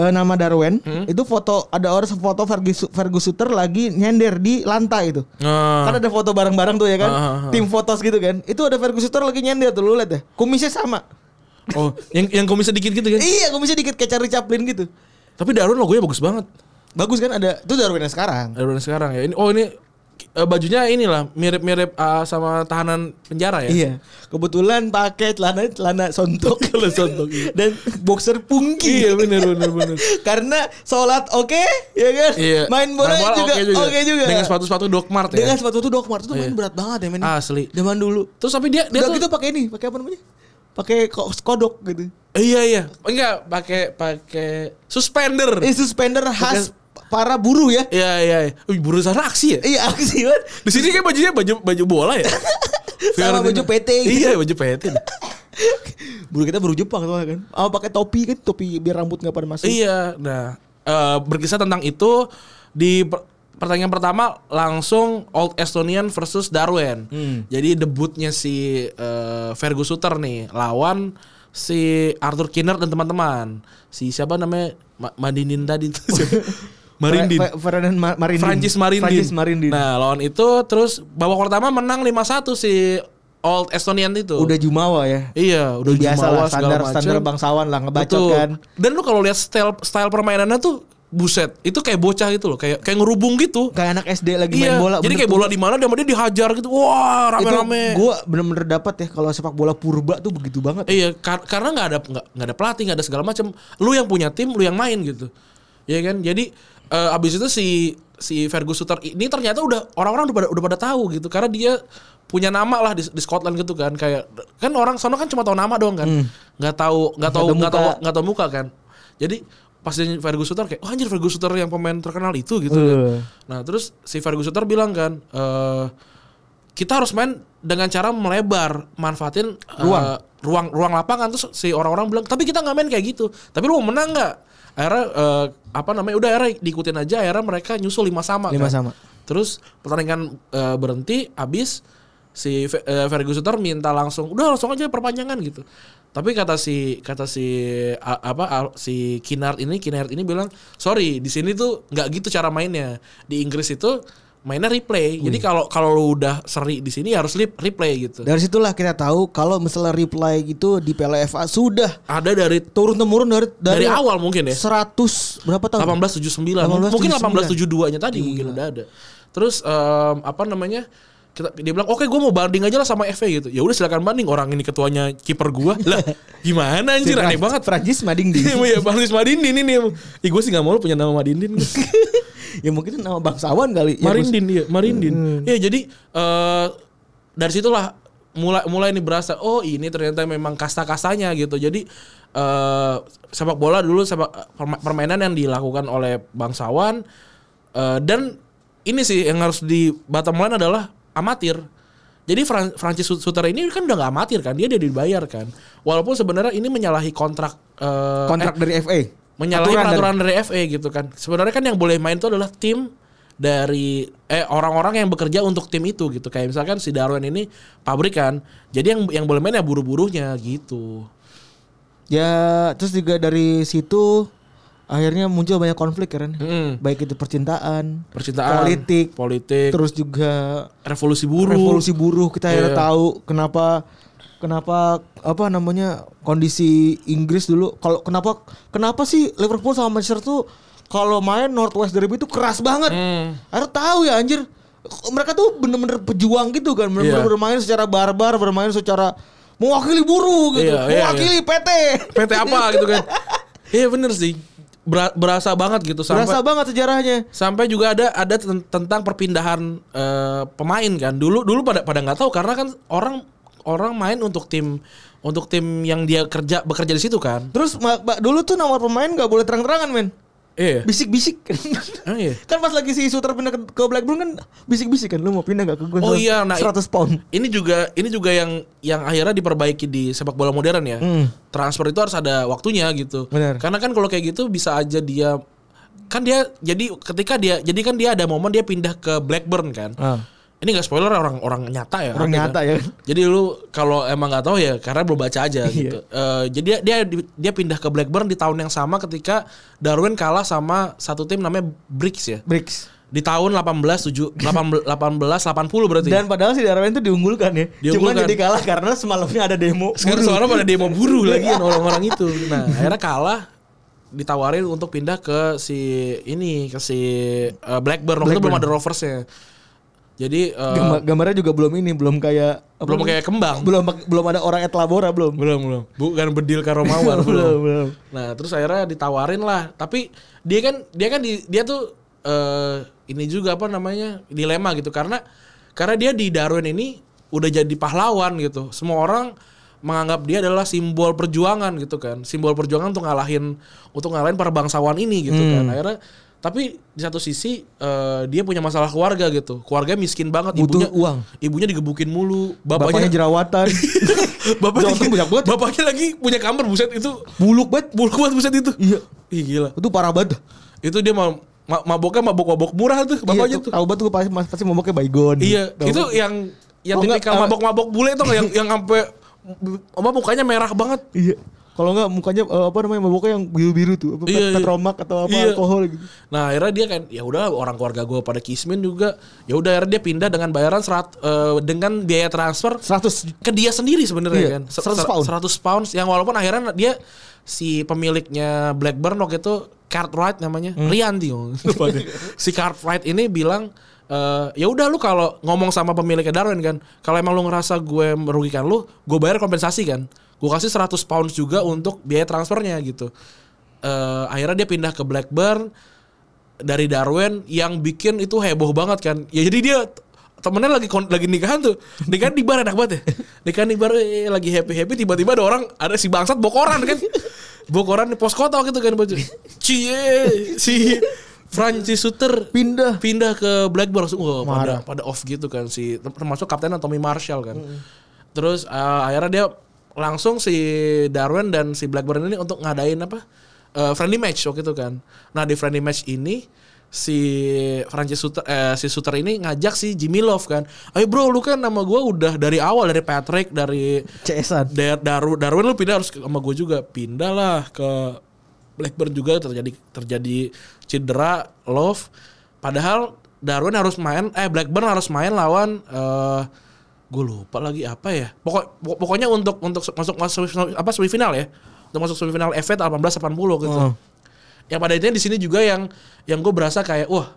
eh, nama Darwin, itu foto ada orang foto Fergus, Fergus Suter lagi nyender di lantai itu.
Nah.
Kan ada foto bareng-bareng tuh ya kan.
Ah, ah, ah.
Tim fotos gitu kan. Itu ada Fergus Suter lagi nyender tuh lu lihat deh. Kumisnya sama.
Oh, yang yang kumisnya dikit gitu kan.
iya, kumisnya dikit kayak Charlie Chaplin gitu.
Tapi Darwin logonya bagus banget.
Bagus kan ada itu Darwin yang sekarang.
Darwin sekarang ya. Ini oh ini eh, bajunya inilah mirip-mirip eh, sama tahanan penjara ya.
Iya. Kebetulan pakai celana celana sontok
Kalau sontok, iya.
dan boxer pungki.
Iya, bener, bener, bener.
Karena sholat oke, ya kan?
Iya.
Main bola juga oke juga.
Dengan sepatu-sepatu Dokmart ya.
Dengan sepatu itu Doc Martens tuh main
Iya.
berat banget ya men.
Asli.
Zaman dulu.
Terus tapi dia dia
Udah
tuh
gitu pakai ini, pakai apa namanya? Pakai ko- kodok gitu.
Iya iya. Enggak pakai pakai
Ini
suspender.
Eh, suspender khas para buruh ya.
Iya iya. iya. Wih, buruh sana aksi ya.
Iya, aksi banget.
Di sini kayak bajunya baju baju bola ya.
Sama baju PT gitu.
Iya baju PT.
Buruh kita buruh Jepang soalnya kan. Sama pakai topi kan, topi biar rambut nggak pada masuk.
iya. Nah eh, berkisah tentang itu di per- pertandingan pertama langsung Old Estonian versus Darwin.
Hmm.
Jadi debutnya si eh, Fergus Suter nih lawan si Arthur Kinner dan teman-teman. Si siapa namanya Ma- Madinin tadi tuh. siapa? Marindin.
Fer- Fer- Ferdinand Ma- Marindin.
Francis Marindin.
Francis Marindin.
Nah, lawan itu terus babak pertama menang 5-1 si Old Estonian itu.
udah jumawa ya.
iya, udah
biasa
jumawa
lah
segala
standar
macem.
standar bangsawan lah ngebacot
Betul.
kan.
Dan lu kalau lihat style style permainannya tuh buset, itu kayak bocah gitu loh, kayak kayak ngerubung gitu.
Kayak anak SD lagi
iya.
main bola.
Jadi
bener
kayak
tuh.
bola di mana dia sama dia dihajar gitu. Wah,
itu
rame-rame.
gue bener-bener dapat ya kalau sepak bola purba tuh begitu banget.
Iya, kar- karena nggak ada nggak nggak ada pelatih, nggak ada segala macam. Lu yang punya tim, lu yang main gitu. Iya kan? Jadi eh, abis itu si si Fergus Suter ini ternyata udah orang-orang udah pada, udah pada tahu gitu karena dia punya nama lah di, di Scotland gitu kan kayak kan orang sono kan cuma tahu nama doang kan nggak tahu nggak tahu
tahu
nggak tahu
Hmm. muka.
nggak tahu muka kan jadi pas dia Fergus Suter kayak oh, anjir Fergus Suter yang pemain terkenal itu gitu kan.
Eh.
nah terus si Fergus Suter bilang kan eh kita harus main dengan cara melebar manfaatin eh,
Ruang.
ruang ruang lapangan terus si orang-orang bilang tapi kita nggak main kayak gitu tapi lu mau menang nggak akhirnya eh, apa namanya udah akhirnya diikutin aja akhirnya mereka nyusul lima sama
Lima
kan.
sama.
terus pertandingan eh, berhenti abis si Fe- eh, Fergus Suter minta langsung udah langsung aja perpanjangan gitu tapi kata si kata si a- apa a- si Kinard ini Kinard ini bilang sorry di sini tuh nggak gitu cara mainnya di Inggris itu mainnya replay jadi kalau kalau lu udah seri di sini harus li- replay gitu
Dari situlah kita tahu kalau misalnya reply gitu di PLFA sudah
ada dari
turun temurun dari
dari, awal mungkin ya
100 berapa tahun?
1879
1879.
mungkin 1872 nya tadi mungkin udah ada terus em, apa namanya kita, dia bilang oke gue mau banding aja lah sama FA gitu ya udah silakan banding orang ini ketuanya kiper gua lah gimana anjir aneh banget
Prancis mading di.
Iya, Paris Madindin ini. Ih, gue sih gak mau lu punya nama Madindin.
ya mungkin itu nama bangsawan kali. Hmm. Ya,
Marindin iya, Marindin. Iya, jadi eh dari situlah mulai mulai ini berasa oh ini ternyata memang kasta-kastanya gitu. Jadi eh sepak bola dulu sepak perma- permainan yang dilakukan oleh bangsawan eh, dan ini sih yang harus di bottom line adalah amatir. Jadi Fran Francis Sut- Suter ini kan udah nggak amatir kan, dia udah dibayar kan. Walaupun sebenarnya ini menyalahi kontrak eh,
kontrak dari FA.
menyalahi
Aturan dari-
peraturan dari, FA gitu kan. Sebenarnya kan yang boleh main itu adalah tim dari eh orang-orang yang bekerja untuk tim itu gitu. Kayak misalkan si Darwin ini pabrikan. Jadi yang yang boleh main ya buruh-buruhnya gitu.
Ya terus juga dari situ akhirnya muncul banyak konflik kan.
Mm-mm.
Baik itu percintaan,
Percintaan,
politik,
politik,
terus juga
revolusi buruh.
revolusi buruh kita
Iya.
akhirnya tahu kenapa kenapa apa namanya kondisi Inggris dulu kalau kenapa kenapa sih Liverpool sama Manchester tuh kalau main Northwest Derby itu keras banget.
Hmm.
Akhirnya tahu ya anjir mereka tuh bener-bener pejuang gitu kan bener-bener
Iya.
bermain secara barbar bermain secara mewakili buruh gitu
Iya, iya, iya.
mewakili PT
PT apa gitu kan. Iya bener sih. Bera- berasa banget gitu sampai
berasa banget sejarahnya
sampai juga ada ada ten- tentang perpindahan eh, pemain kan dulu dulu pada pada nggak tahu karena kan orang orang main untuk tim untuk tim yang dia kerja bekerja di situ kan
terus ma- ma- dulu tuh nomor pemain nggak boleh terang-terangan men
iya
bisik-bisik
Oh, iya.
Kan pas lagi si Suter pindah ke, ke Blackburn kan bisik-bisik kan lu mau pindah gak ke gue
Oh iya, nah,
100 pound.
ini juga ini juga yang yang akhirnya diperbaiki di sepak bola modern ya transfer itu harus ada waktunya gitu
Hmm. Benar.
karena kan kalau kayak gitu bisa aja dia kan dia jadi ketika dia jadi kan dia ada momen dia pindah ke Blackburn kan
Ah.
ini nggak spoiler orang orang nyata ya
Orang
Ada
nyata ya.
Jadi lu kalau emang nggak tahu ya karena belum baca aja gitu. Eh, jadi dia, dia dia pindah ke Blackburn di tahun yang sama ketika Darwin kalah sama satu tim namanya Bricks ya.
Bricks.
Di tahun 18 7 18 1880 berarti. ya.
Dan padahal si Darwin itu diunggulkan ya. Cuman
Iya. Diunggulkan.
jadi kalah karena semalamnya ada demo.
Sekarang
buruh.
soalnya pada demo buruh lagi kan orang-orang itu. Nah, akhirnya kalah ditawarin untuk pindah ke si ini ke si eh, Blackburn waktu itu belum ada Roversnya. Jadi eh,
Gambar- gambarnya juga belum ini, belum kayak apa
belum
namanya?
kayak kembang.
belum belum ada orang et labora belum.
Belum, belum. Bukan bedil karomawar belum.
belum.
Nah, terus akhirnya ditawarin lah. Tapi dia kan dia kan di- dia tuh eh ini juga apa namanya? dilema gitu karena karena dia di Darwin ini udah jadi pahlawan gitu. Semua orang menganggap dia adalah simbol perjuangan gitu kan. Simbol perjuangan untuk ngalahin untuk ngalahin para bangsawan ini gitu kan.
Hmm.
Akhirnya tapi di satu sisi eh, dia punya masalah keluarga gitu. Keluarga miskin banget,
Butuh
ibunya
uang.
Ibunya digebukin mulu,
Bapaknya
bapaknya
jerawatan.
bapaknya,
Jerawatan banyak banget.
bapaknya lagi punya kamar buset itu
Buluk banget.
buluk banget buset itu.
Iya.
Ih gila.
Itu parah banget.
Itu dia mau ma maboknya mabok-mabok murah tuh bapaknya
Iya,
tuh.
Tahu banget tuh pasti pasti maboknya baygon.
Iya,
Tahu
itu
banget.
yang yang
Kalau
tipikal
nggak, eh,
mabok-mabok bule tuh yang yang sampai apa mukanya merah banget.
Iya. Kalau enggak mukanya eh, apa namanya maboknya yang biru-biru tuh, apa
Iya, iya.
petromak atau apa
Iya.
alkohol gitu.
Nah, akhirnya dia kan ya udah orang keluarga gue pada kismin juga. Ya udah akhirnya dia pindah dengan bayaran serat, eh, dengan biaya transfer
100
ke dia sendiri sebenarnya
Iya,
kan. Se- ser-
100 pound.
100 pounds yang walaupun akhirnya dia si pemiliknya Blackburn waktu itu Cartwright namanya,
Hmm.
Rianti. oh. Lupa deh. si Cartwright ini bilang eh ya udah lu kalau ngomong sama pemiliknya Darwin kan, kalau emang lu ngerasa gue merugikan lu, gue bayar kompensasi kan. Gue kasih 100 pounds juga untuk biaya transfernya gitu. Eh akhirnya dia pindah ke Blackburn dari Darwin yang bikin itu heboh banget kan. Ya jadi dia temennya lagi kon- lagi nikahan tuh. Nikahan di bar enak banget ya. Nikahan di bar eh, lagi happy-happy tiba-tiba ada orang ada si bangsat bokoran kan. Bokoran di pos kota gitu kan baju. Cie si Francis Suter
pindah.
pindah ke Blackburn langsung wah pada pada off gitu kan si termasuk kaptennya Tommy Marshall kan. Terus eh, akhirnya dia langsung si Darwin dan si Blackburn ini untuk ngadain apa? eh, friendly match waktu itu kan. Nah, di friendly match ini si Francis Suter eh, si Suter ini ngajak si Jimmy Love kan. Ayo bro, lu kan nama gua udah dari awal dari Patrick dari
CS-an.
Dar Iya, Darwin, Darwin lu pindah harus ke- sama gue juga. Pindah lah ke Blackburn juga terjadi terjadi cedera Love. Padahal Darwin harus main eh Blackburn harus main lawan eh gue lupa lagi apa ya. Pokok pokok- pokoknya untuk untuk masuk masuk apa semifinal ya. Untuk masuk semifinal FA 1880 gitu. Ya pada intinya di sini juga yang yang gue berasa kayak wah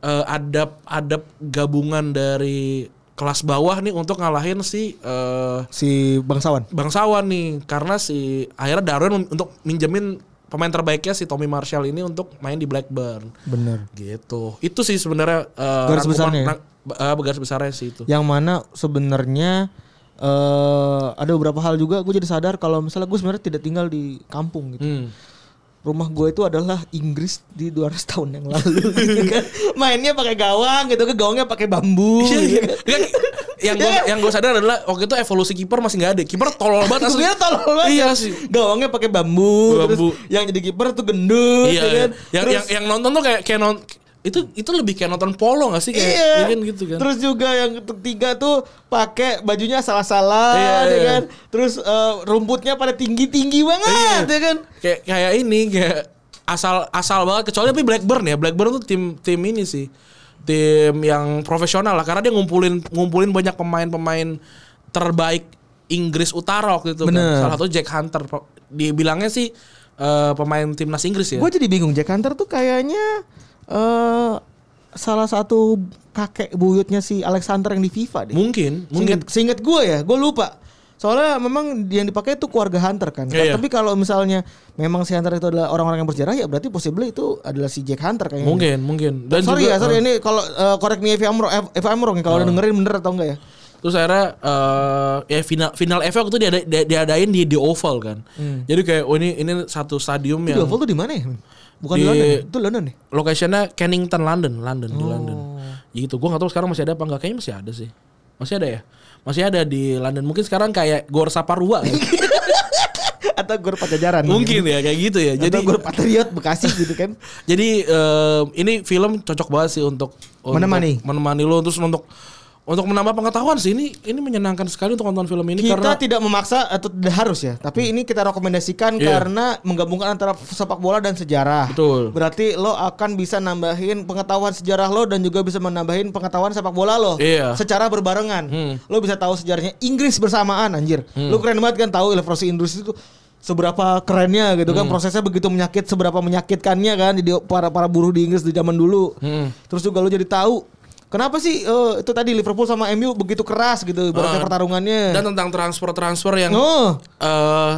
eh, ada ada gabungan dari kelas bawah nih untuk ngalahin si eh
Si bangsawan.
bangsawan nih karena si akhirnya Darwin mem- untuk minjemin pemain terbaiknya si Tommy Marshall ini untuk main di Blackburn
Bener.
gitu itu sih sebenarnya eh, rangkuman-
Garis besarnya ya?
rang- eh, garis besarnya sih itu
yang mana sebenarnya eh ada beberapa hal juga gue jadi sadar kalau misalnya gue sebenarnya tidak tinggal di kampung gitu.
Hmm.
Rumah gue itu adalah Inggris di 200 tahun yang lalu. gitu kan. Mainnya pakai gawang gitu, ke gawangnya pakai bambu. gitu kan.
Iya, yang gue yang gue sadar adalah waktu itu evolusi kiper masih nggak ada kiper tolol banget asli
Sebenarnya tolol banget. ya?
iya sih
Gawangnya pakai bambu,
Bambu.
Terus yang jadi kiper tuh gendut
iya,
ya
iya.
kan.
yang
Terus-
yang yang nonton tuh kayak kayak non- itu itu lebih kayak nonton polo gak sih kayak
iya.
iya kan gitu kan
Terus juga yang ketiga tuh pakai bajunya salah-salah
Iya,
ya
iya.
kan. Terus eh, rumputnya pada tinggi-tinggi
Iya.
banget ya kan.
kayak kayak ini kayak asal asal banget kecuali tapi Blackburn ya Blackburn tuh tim tim ini sih tim yang profesional lah karena dia ngumpulin ngumpulin banyak pemain-pemain terbaik Inggris Utara waktu itu kan.
Bener.
salah satu Jack Hunter Po- dibilangnya sih eh, pemain timnas Inggris ya
Gue jadi bingung Jack Hunter tuh kayaknya eh salah satu kakek buyutnya si Alexander yang di FIFA deh.
mungkin mungkin
Seinget, seinget gue ya, gue lupa. Soalnya memang yang dipakai itu keluarga Hunter kan.
Iya, iya.
Tapi kalau misalnya memang si Hunter itu adalah orang-orang yang bersejarah ya berarti possibly itu adalah si Jack Hunter kayaknya.
mungkin mungkin dan Eh, juga
sorry
Ah.
ya, sorry ini kalau eh, korek nih if I'm wrong, if I'm wrong ya, kalau udah dengerin bener atau enggak ya.
terus akhirnya eh, ya final final FA waktu itu diada, dia- diadain di The Oval kan jadi kayak oh ini ini satu stadium
Itu
yang
Duval tuh Hmm. di mana ya? Bukan di,
Iya. Di-
London, ya? itu London deh.
Locationnya Kennington London, London
Oh.
di London. Gitu. Gua nggak tahu sekarang masih ada apa enggak. Kayaknya masih ada sih. Masih ada ya? Masih ada di London. Mungkin sekarang kayak Gor Saparua. ya.
Atau Gor Pajajaran.
Mungkin ya kayak gitu ya.
Jadi
Jadi
Gor Patriot Bekasi gitu kan.
jadi em, ini film cocok banget sih untuk, untuk
Menemani.
menemani lo terus untuk untuk menambah pengetahuan sih ini ini menyenangkan sekali untuk nonton film ini
Kita
karena Hmm.
tidak memaksa atau tidak harus ya, tapi ini kita rekomendasikan
Iya.
karena menggabungkan antara sepak bola dan sejarah.
Betul.
Berarti lo akan bisa nambahin pengetahuan sejarah lo dan juga bisa menambahin pengetahuan sepak bola lo.
Iya. Hmm.
Secara berbarengan. Lo bisa tahu sejarahnya Inggris bersamaan anjir. Lo keren banget kan tahu ilustrasi Inggris itu seberapa kerennya gitu kan
Hmm.
prosesnya begitu menyakit seberapa menyakitkannya kan di para para buruh di Inggris di zaman dulu.
Hmm.
Terus juga lo jadi tahu Kenapa sih eh, itu tadi Liverpool sama MU begitu keras gitu
Eh,
ibaratnya pertarungannya?
dan tentang transfer transfer yang
Oh,
eh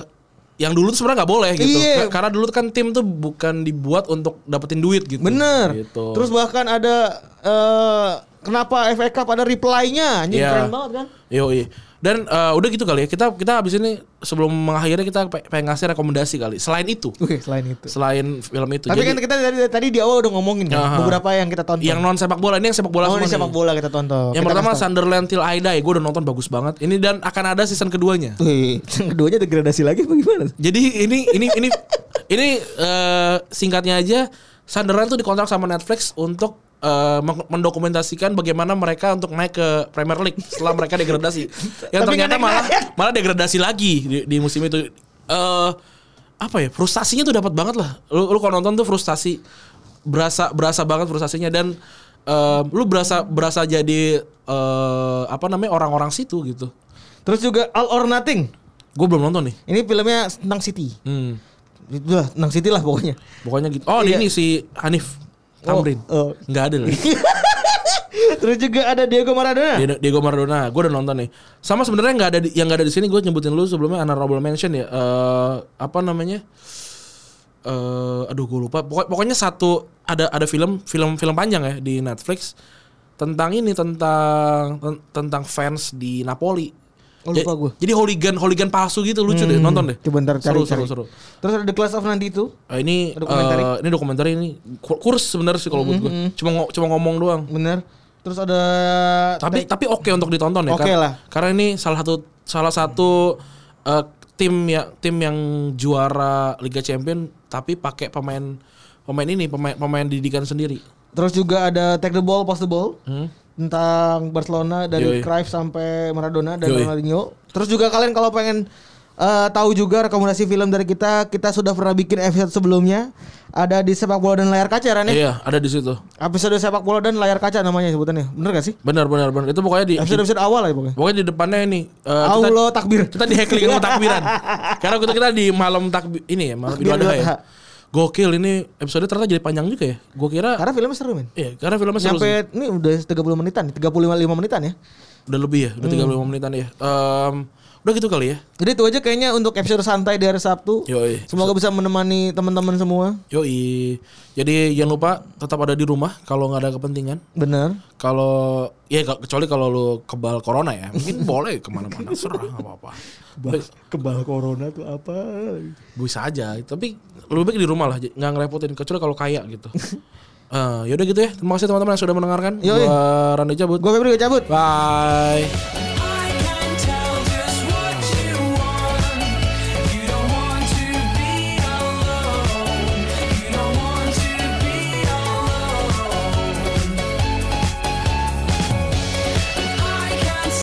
yang dulu tuh sebenarnya nggak boleh gitu.
Iya.
Ka- Karena dulu tuh kan tim tuh bukan dibuat untuk dapetin duit gitu.
bener.
Gitu.
Terus bahkan ada eh kenapa FA Cup ada reply-nya? Anjing
Iya.
keren banget kan?
Yoi. Dan eh, udah gitu kali ya. Kita kita habis ini sebelum mengakhiri kita pe- pengen ngasih rekomendasi kali. Selain itu,
Oke, selain itu.
selain film itu. Jadi,
Tapi kan kita tadi, tadi di awal udah ngomongin kan
Aha.
beberapa yang kita tonton.
yang non sepak bola ini yang sepak bola semua
oh, ini
nih.
sepak bola kita tonton.
Yang
Kita
pertama
kasih
Sunderland Till I Die, gue udah nonton bagus banget. Ini dan akan ada season keduanya.
tahu. Wih, yang keduanya degradasi lagi apa gimana?
Jadi ini ini ini ini eh, singkatnya aja Sunderland tuh dikontrak sama Netflix untuk eh, men- mendokumentasikan bagaimana mereka untuk naik ke Premier League setelah mereka degradasi. Yang
Tapi nggak
ternyata malah
naik-naik.
malah degradasi lagi di, di musim itu. Eh apa ya? Frustasinya tuh dapat banget lah. Lu, lu kalau nonton tuh frustasi berasa berasa banget frustasinya dan eh, lu berasa berasa jadi eh, apa namanya orang-orang situ gitu.
Terus juga All or Nothing.
Gue belum nonton nih.
Ini filmnya tentang City.
Hmm.
Itulah tentang City lah pokoknya.
Pokoknya gitu. Oh,
Iya.
ini si Hanif Tamrin.
Oh, oh.
Nggak ada lah.
Terus juga ada Diego Maradona.
Diego- Diego Maradona, gue udah nonton nih. Sama sebenarnya nggak ada di- yang nggak ada di sini. Gue nyebutin lu sebelumnya honorable mention ya. Eh, apa namanya? Eh, aduh gue lupa. Pokok- pokoknya satu ada ada film film film panjang ya di Netflix tentang ini tentang ten- tentang fans di Napoli.
Oh, lupa
Ja-
gua.
Jadi hooligan hooligan palsu gitu lucu deh nonton deh.
Hmm, Coba ntar cari,
seru,
cari.
seru seru
Terus ada The Class of 92.
Eh, ini
Dokumenter. Mm-hmm.
eh, ini dokumenter ini kur- kurs sebenarnya sih kalau buat gue. Cuma ngo- cuma ngomong doang.
Bener. Terus ada
Tapi tapi oke untuk ditonton ya.
Oke
Kar-
lah.
Karena ini salah satu salah satu eh, tim ya tim yang juara Liga Champion tapi pakai pemain pemain ini pemain pemain didikan sendiri.
Terus juga ada Take the Ball, Pass the Ball. Tentang Barcelona dari
Hmm. Yoi.
Cruyff sampai Maradona dan
Yoi.
Ronaldinho. Terus juga kalian kalau pengen eh, tahu juga rekomendasi film dari kita, kita sudah pernah bikin episode sebelumnya. Ada di sepak bola dan layar kaca Ran, ya?
Iya, ada di situ.
Episode sepak bola dan layar kaca namanya sebutannya. Bener gak sih?
Benar benar benar. Itu pokoknya di
Episode episode awal ya pokoknya.
pokoknya di depannya ini eh,
Allah takbir.
kita di heckling sama takbiran. Karena kita kita di malam takbir ini ya, malam
Takbir
Idul Adha ya.
Idul Adha.
Gokil ini episode ternyata jadi panjang juga ya. Gua kira
Karena filmnya seru men.
Iya, karena filmnya seru sih.
Sampai ini udah 30 menitan, 35 menitan ya.
Udah lebih ya, udah
Hmm.
35 menitan ya. Em, udah gitu kali ya.
Jadi itu aja kayaknya untuk episode santai di hari Sabtu.
Yoi.
Semoga bisa menemani teman-teman semua.
Yoi. Jadi jangan lupa tetap ada di rumah kalau nggak ada kepentingan.
Bener.
Kalau ya ke- kecuali kalau lu kebal corona ya, mungkin boleh kemana-mana serah nggak apa-apa. Tapi
Kebal corona tuh apa?
Bisa aja. Tapi lebih baik di rumah lah, j- nggak ngerepotin. Kecuali kalau kaya gitu. Eh, yaudah gitu ya. Terima kasih teman-teman yang sudah mendengarkan.
Yoi.
Gua Randy cabut.
Gue Febri gue cabut.
Bye.